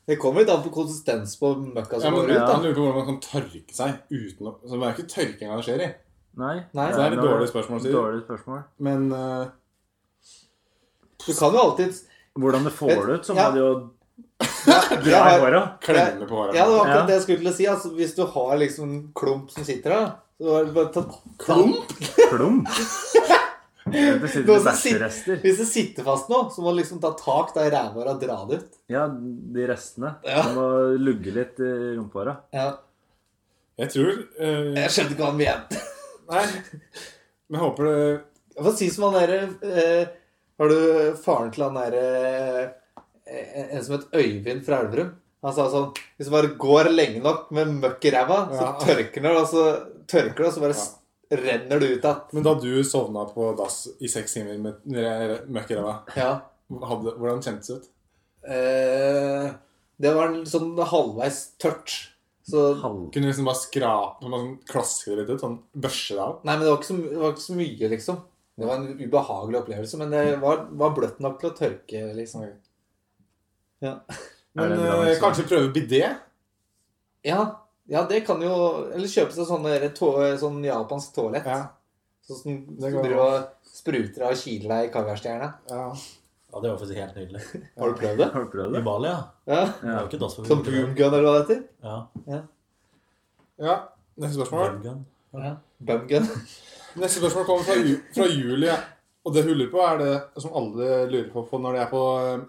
Det kommer litt an på konsistens på møkka ja, som men, går ut. ja. da. Han lurer på hvordan man kan tørke seg uten å Så Det er ikke tørkinga det skjer i. Nei. Nei. Så det er noe- et dårlig spørsmål, Syver. dårlig spørsmål. Men eh, Du kan jo alltid Hvordan du får det ut, som Ja. hadde jo Jeg dra i har, håra. klemme på håra. ja, det var akkurat Ja. det jeg skulle til å si. Altså, hvis du har liksom en klump som sitter der, så er det bare tatt Klump? <laughs> Plump! Det sitter Noen med som sitter- bæsjerester. Hvis det sitter fast nå, så må du liksom ta tak da i ræva og dra det ut. Ja, de restene. Ja. Du må lugge litt i rumpehåra. Ja. Jeg tror eh, Jeg skjønte ikke hva han mente. Nei. Men jeg håper det Jeg får si som han derre eh, Har du faren til han derre eh, En som het Øyvind fra Elverum? Han sa sånn Hvis du bare går lenge nok med møkk i ræva, så Ja. tørker det, og så tørker det, og så bare s- renner det ut igjen. Men da du sovna på dass i seks timer med re- møkk i ræva, Ja. hadde- hvordan kjentes det ut? Eh, det var en sånn halvveis tørt. Så Halv... Kunne du liksom bare skrape bare sånn, klaske det litt ut? Sånn, Børse det av? Nei, men det var ikke så, my- det var ikke så mye, liksom. Det var en ubehagelig opplevelse, men det var, var bløtt nok til å tørke, liksom. Ja. Men det bra, eh, liksom? kanskje prøve bidé? Ja, ja, det kan jo Eller kjøpe seg sånne der tå, sånn japansk toalett. Ja, Sånn som du Det går driver og spruter av og kiler deg i kaviarstjerne. ja. Ja, Det var faktisk helt nydelig. Har du prøvd det? Har du prøvd I det? Bali, ja. Ja. Det er jo ikke dassforbi. Sånn boomgun, eller hva det heter? Ja. ja. Neste spørsmål. Bumgun. Ja. Bumgun. Neste spørsmål kommer fra, Ju- fra Julie. Og det hun lurer på, er det som alle lurer på, på når de er på eh,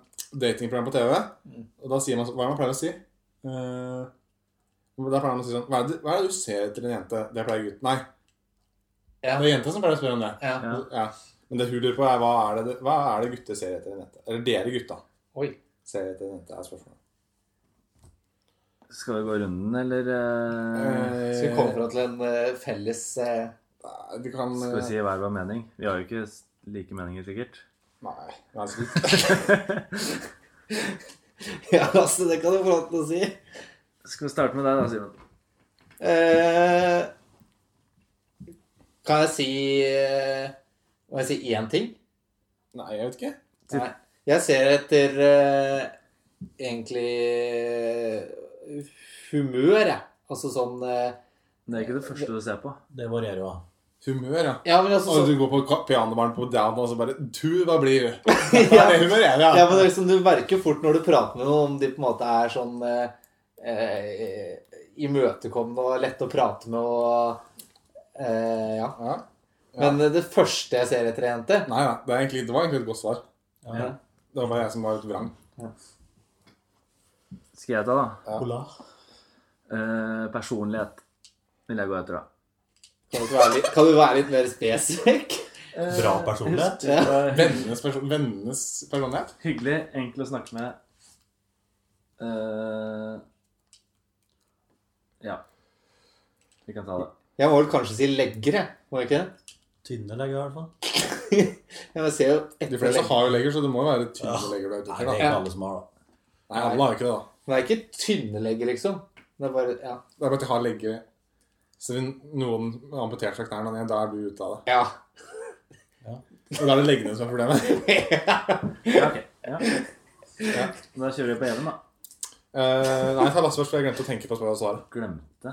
datingprogram på TV. Og da sier man så- Hva er det man pleier å si? Eh, da pleier man å si sånn Hva er det, hva er det du ser etter en jente? Det pleier gutten. Nei. Ja. Det er jenta som pleier å spørre om det. Ja. Ja. Ja. Men det hun lurer på, er hva er det, hva er det gutter ser etter en jente? Eller dere gutta Oi. ser etter en jente, er spørsmålet. Skal vi gå runden, eller eh, Skal vi komme fra til en eh, felles eh, <laughs> Nei, Du kan skal vi eh, si hver vår mening? Vi har jo ikke s- like meninger, sikkert. Nei. nei det skal vi- Ja, altså, det kan du få lov til å si. Skal vi starte med deg, da, Simen? Eh, kan jeg si eh, Må jeg si én ting? nei, jeg vet ikke. Nei. Jeg ser etter eh, egentlig eh, humør, jeg. Altså sånn eh, Det er ikke det første du ser på. Det varierer jo. da. humør, ja. Ja, men altså, Og så, du går på ka- pianobaren på down og så bare Du, hva <laughs> blir du? Det er det humøret ja, jeg vil ha. men liksom, du merker fort når du prater med noen om de på en måte er sånn eh, eh, imøtekommende og lette å prate med og eh, ja. Ja. Men eh, det første jeg ser etter ei jente Nei, nei, det, er egentlig, det var egentlig et godt svar. ja. Det var bare jeg som var litt vrang. Skal jeg ta, da? Hola. Eh, personlighet vil jeg gå etter, da. kan, du være litt, kan du være litt mer spesifikk? Bra personlighet. Husk, eh, Vennenes, person, vennenes personlighet? Hyggelig, enkel å snakke med. Eh, ja. Vi kan ta det. Jeg må vel kanskje si legger, jeg. Må jeg ikke det? Tynne legger, i hvert fall. Ja, Jeg ser jo De fleste etterlegger. har jo legger, så det må jo være tydelige legger der ute. Nei, det er da. ikke alle som har, da. Nei, alle har jo ikke det, da. Men det er ikke tynne legger, liksom. Det er bare Ja. Det er bare at jeg har legger Så hvis noen amputerte seg knærne, og da er du ute av det. ja. Og da er det leggene som er problemet. Ja, ok. Ja. Ja. Da kjører vi på Even, da. <laughs> Eh, nei, ta Lasse først, for jeg glemte å tenke på spørsmålet og svaret. Glemte.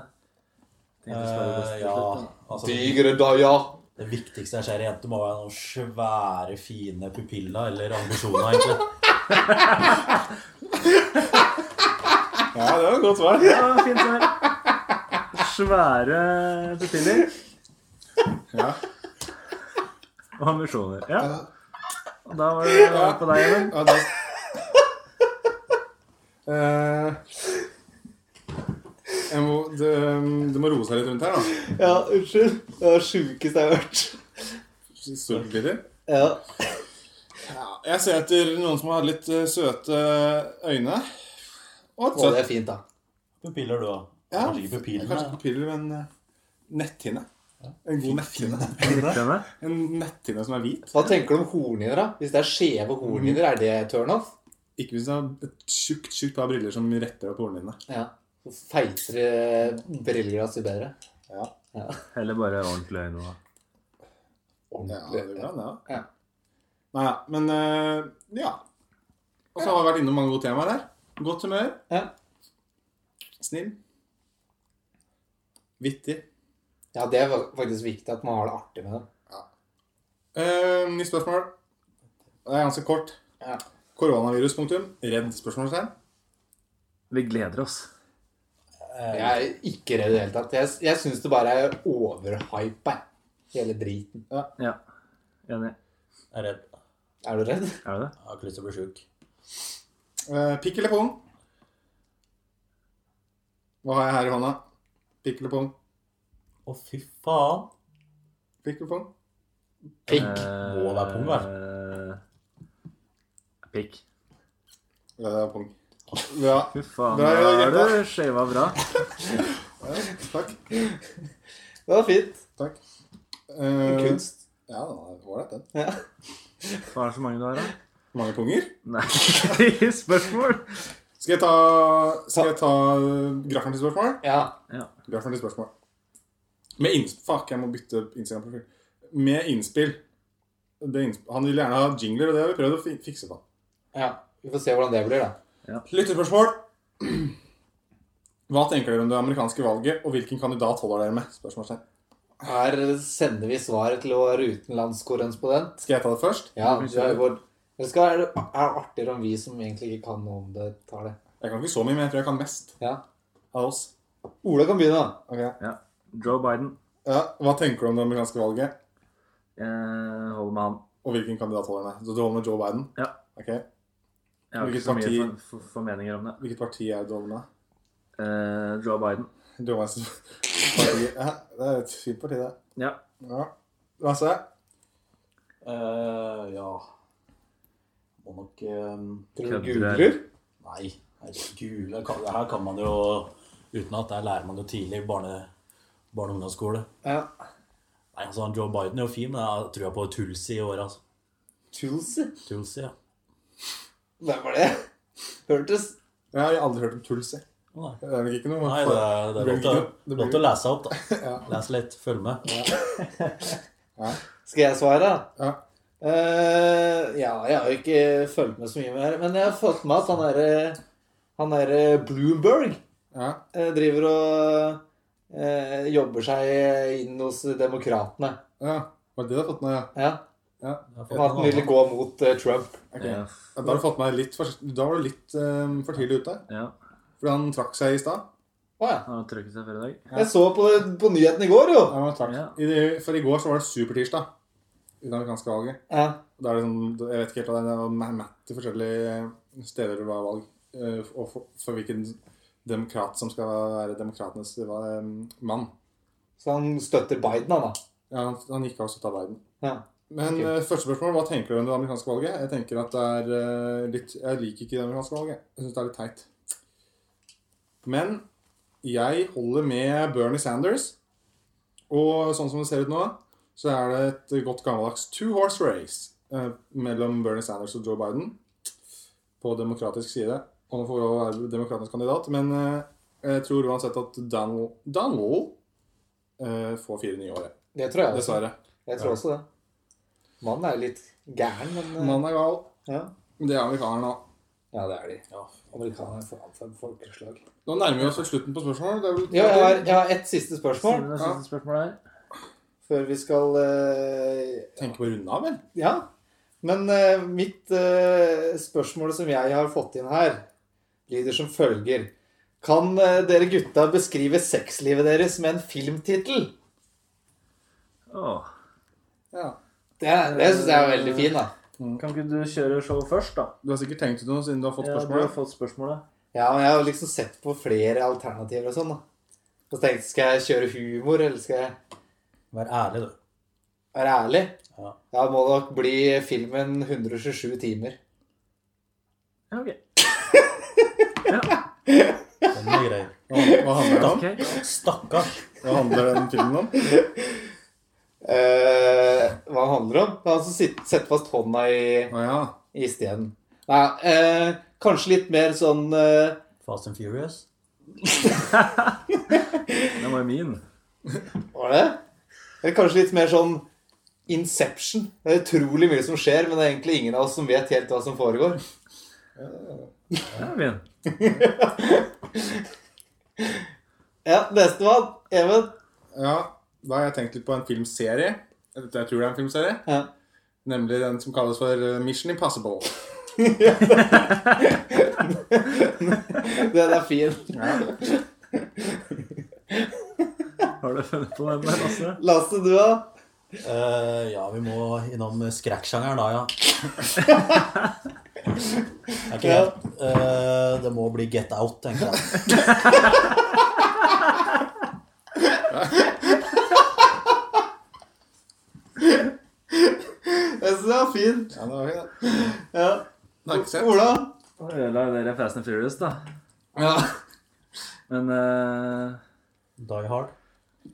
Tenkte å spørre Eh, Gustav til ja, slutt, da. altså, Digre da, ja. det viktigste jeg ser i jenter, må være noen svære, fine pupiller eller ambisjoner, egentlig. Ja, det var et godt svar. Ja, Ja, Ah, fint svar. Svære pupiller. Ja. Og ambisjoner. Ja. Og da var det på deg, Even. da... <laughs> Eh, jeg må, det, um, det må roe seg litt rundt her, da. Ja, unnskyld. Det var det sjukeste jeg har hørt. Storbilder. Ja. Ja, jeg ser etter noen som har litt eh, søte øyne. Og Å, et det søtt er fint, da. Pupiller, du òg. Ja. Kanskje ikke pupillene. Kanskje pupiller, men eh, netthinne. En god netthinne. Denne. En netthinne som er hvit. Hva tenker du om hornhinner, da? Hvis det er skjeve hornhinner, er det turnoff? Ikke hvis du har et tjukt, tjukt par briller som retter opp hornene dine. Ja. Jo Feitere brilleglass, jo bedre. Eller bare ordentlig øyne. da. Ja, det går an, ja. Ja. Nei, ja, men eh, ja. Og så har vi vært innom mange gode temaer her. Godt humør. Ja. Snill. Vittig. Ja, det er faktisk viktig at man har det artig med dem. Eh, Nytt spørsmål. Det er ganske kort. Ja. Koronavirus, punktum. Redd spørsmålstegn. Vi gleder oss. Jeg er ikke redd i det hele tatt. Jeg, jeg syns det bare er overhypa, hele driten. Ja. Enig. Jeg er redd. Er du Er redd? du det? Jeg har ikke lyst til å bli sjuk. Eh, pikk eller pung? Hva har jeg her i hånda? Pikk eller pung? Å, fy faen. Pikk eller pung? Pikk. Må være pung, altså. Eh, Pikk. Ja, det er pung. Ja, Fy faen, Bra, da Jørgen, er du shava bra. takk. <laughs> Det var fint. Takk. Eh, Kunst. Ja, det var det, den. Ja. Hva er det så mange du har, da? Mange punger. Nei, <laughs> spørsmål? Skal jeg ta, skal jeg ta grafferen til spørsmål? ja. Grafferen til spørsmål. Med innspill Fuck, jeg må bytte Instagram-profil. Med innspill. Det innsp Han vil gjerne ha jingler, og det har vi prøvd å fi fikse på. Ja. Vi får se hvordan det blir, da. Lyttespørsmål. <clears throat> Hva tenker dere om det amerikanske valget, og hvilken kandidat holder dere med? Spørsmålstegn. Her sender vi svaret til vår utenlandskorrespondent. Skal jeg ta det først? Ja, du er vår... Det skal være er det artigere om vi som egentlig ikke kan noe om det, tar det. Jeg kan ikke så mye, men jeg tror jeg kan mest Ja. av oss. Ola kan begynne, da. Ok. Ja. Joe Biden. Ja, hva tenker du om det amerikanske valget? Jeg holder med han. Og hvilken kandidat holder med? Så du holder med Joe Biden? Ja. Ok. Jeg har ikke Hvilket så mye parti? for, for, formeninger om det. Hvilket parti er du holder med? Eh, Joe Biden. Du holder med parti. Ja, det er et fint parti, det. Ja. Ja. Lasse? Eh, ja Må nok eh, Tror du Kødder. googler? Nei, herregud. det kan- Det her kan man jo uten at Der lærer man jo tidlig i barne, barne- og ungdomsskole. Ja. Nei, altså han Joe Biden er jo fin, men jeg tror jeg på Tulsi i år, altså. Tulsi? Tulsi, ja. Hvem var det? <laughs> Hørtes Jeg har aldri hørt om Tulsi. Å, Nei, Det er nok ikke noe Nei det, er- det er blir lov til å- ikke noe- det blir lov til å ikke- lese <laughs> opp, da. Les litt, følg med. Skal jeg svare, da? Ja. Eh, ja, jeg har jo ikke fulgt med så mye mer, men jeg har fått med at han derre Han derre eh, Bloomberg Ja. eh, driver og eh, jobber seg inn hos demokratene. Ja, var det det du har fått med? Ja. Ja. Jeg har fått Og at en den ville annen. gå mot eh, Trump. Ok. Ja. Ja, Da har du fått med litt for, Da var du litt eh, for tidlig ute. ja. Fordi han trakk seg i stad. Å ja. Han har trykket seg før i dag. Jeg så på, på nyheten i går, jo. Ja, han trakk. Ja. I, det- for i går så var det supertirsdag i det amerikanske valget. Ja. Da er det sånn, jeg vet ikke helt hva det er, det var ma- matt i forskjellige steder det var valg. eh, Og for, for hvilken demokrat som skal være demokratenes eh, mann. Så han støtter Biden, han da. Ja, han, han gikk av og støtta Biden. Ja. Men Ok. eh, første spørsmål, hva tenker du om det amerikanske valget? Jeg tenker at det er eh, litt Jeg liker ikke det amerikanske valget. Jeg syns det er litt teit. Men jeg holder med Bernie Sanders. Og sånn som det ser ut nå, så er det et godt gammeldags two horse race eh, mellom Bernie Sanders og Joe Biden på demokratisk side. Og han får jo være demokratisk kandidat, men eh, jeg tror uansett at Donald, Donald eh, får fire nye året. Det tror jeg. også. Dessverre. Jeg tror også det. Mannen er jo litt gæren, men eh, Mannen er gal. ja. Det er amerikanerne òg. ja, det er de. Amerikanere er faen for folkeslag. Nå nærmer vi oss slutten på spørsmålet. Det er vel Ja, jeg har, jeg har ett siste spørsmål Simen, det siste spørsmålet her. før vi skal eh, Tenker på å runde av, vel? Ja. Men eh, mitt eh, spørsmål som jeg har fått inn her, lyder som følger. Kan eh, dere gutta beskrive sexlivet deres med en filmtittel? Åh. Det, det syns jeg er veldig fin, da. Kan ikke du kjøre show først, da? Du har sikkert tenkt ut noe siden du har fått Ja, du har spørsmålet. fått spørsmålet. Ja, men jeg har liksom sett på flere alternativer og sånn, da. Og så tenkte jeg, skal jeg kjøre humor, eller skal jeg Vær ærlig, du. være ærlig? Ja. Da må det nok bli filmen 127 timer. Ja, ok. Den er grei. Hva, hva handler det om? Ok. Stakkars. Hva handler den filmen om? Eh, hva handler det om? Det er han som sitter- setter altså fast hånda i Å ja. i stedet. Nei, eh, kanskje litt mer sånn eh, Fast and Furious. Den var jo min. Var det? Eller kanskje litt mer sånn Inception. Det er utrolig mye som skjer, men det er egentlig ingen av oss som vet helt hva som foregår. Den er fin. Ja, Nestemann. Even. ja. Da har jeg tenkt litt på en filmserie. Jeg jeg tror det er en filmserie. Ja. Nemlig den som kalles for eh, Mission Impossible. Den er fin. Har du funnet på den der, Lasse? Lasse, du da? Eh, ja, vi må innom skrekksjangeren da, <laughs> ja. Det er ikke Ja. helt eh, Det må bli Get Out, tenker jeg. Jeg syns den var fin. Ja, det var fint, det. Ja. Den har jeg ikke sett. Ola? Nå ødela jo dere Fast and Furious, da. Ja. Men eh, Die Hard.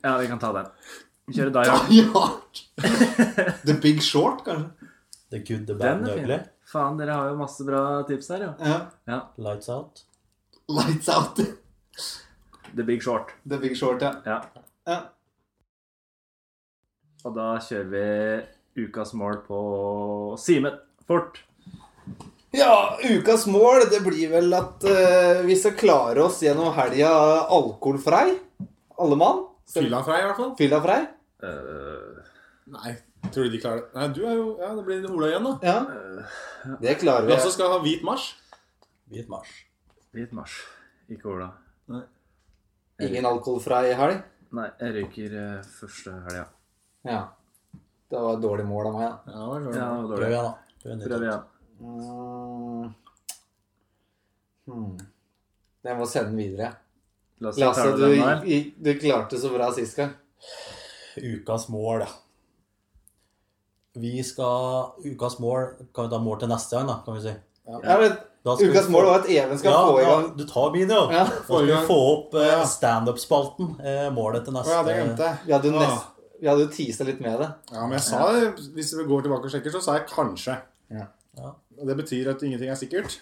Ja, vi kan ta den. Vi kjører <laughs> Die Hard. ja. <laughs> The Big Short, kanskje? The Good, The Bad, Den The er Ugly. fin. Faen, dere har jo masse bra tips her, jo. Ja. Lights Out. Lights Out. The Big Short. The Big Short, ja. Ja. Ja. Og da kjører vi ukas mål på Simen. Fort. Ja, ukas mål det blir vel at eh, vi skal klare oss gjennom helga alkoholfrei. Alle mann. Fylla fra, i hvert fall. Fyllafrei. Eh, Nei, tror du de klarer det? Nei, du er jo Ja, det blir Ola igjen, da. Eh, Ja. Det klarer Du også vi. skal ha hvit marsj. Hvit marsj. Hvit marsj. Ikke Ola. Ingen alkoholfrei helg. Nei, jeg røyker eh, første helga. Ja. Det var et dårlig mål av meg, da. Ja, det Ja, det var Prøv dårlig. igjen, da. Prøv nytt. Prøv igjen. Mm. Hmm. Jeg må sende den videre. Lasse, Lasse, tar du, du den der? i- du klarte så bra sist gang. Ukas mål, ja. Vi skal Ukas mål Kan vi ta mål til neste gang, da, kan vi si. Ja, men, Da skal ukas vi få- mål var at Even skal ja, få i ja, gang Du tar min, jo. Ja. Da skal vi få opp eh, standup-spalten. Eh, målet til Å neste ja, det glemte jeg. Vi hadde jo Ah. nest- vi hadde jo teasa litt med det. Ja, men jeg sa det. Hvis vi går tilbake og sjekker, så sa jeg kanskje. Ja. Ja. Og Det betyr at ingenting er sikkert.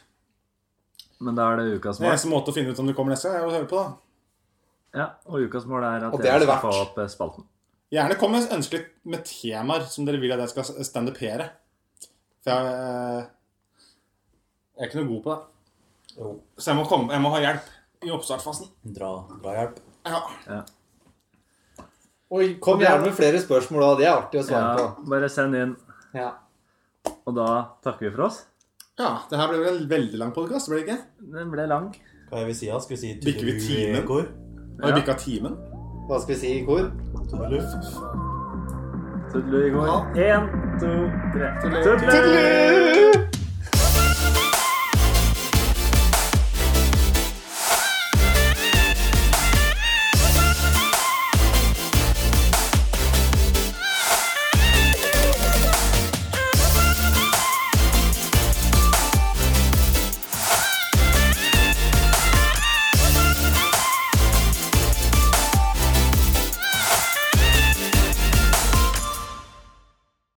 Men da er det ukas Den mål. eneste måten å finne ut om det kommer neste gang, er å høre på, da. Ja, og ukas mål er at Og det er jeg det skal få verdt. opp eh, spalten. Gjerne kom med ønskelig med temaer som dere vil at jeg skal standupere. For jeg, eh, jeg er ikke noe god på det. Jo. Så jeg må, komme, jeg må ha hjelp i oppstartfasen. Dra, dra hjelp. Ja. Ja. Oi, Kom gjerne med flere spørsmål, da. Det er artig å svare Ja, bare send inn. på. Ja. Og da takker vi for oss. Ja, det her ble vel en veldig lang podkast, ble det ikke? Den ble lang. Hva er vi si, da? Skal vi si Bikker vi tudelu i timen? går? Har vi Ja. bikka timen? Hva skal vi si i kor? Tudelu? Tudelu i går. Én, to, tre. Tudelu! Tudelu!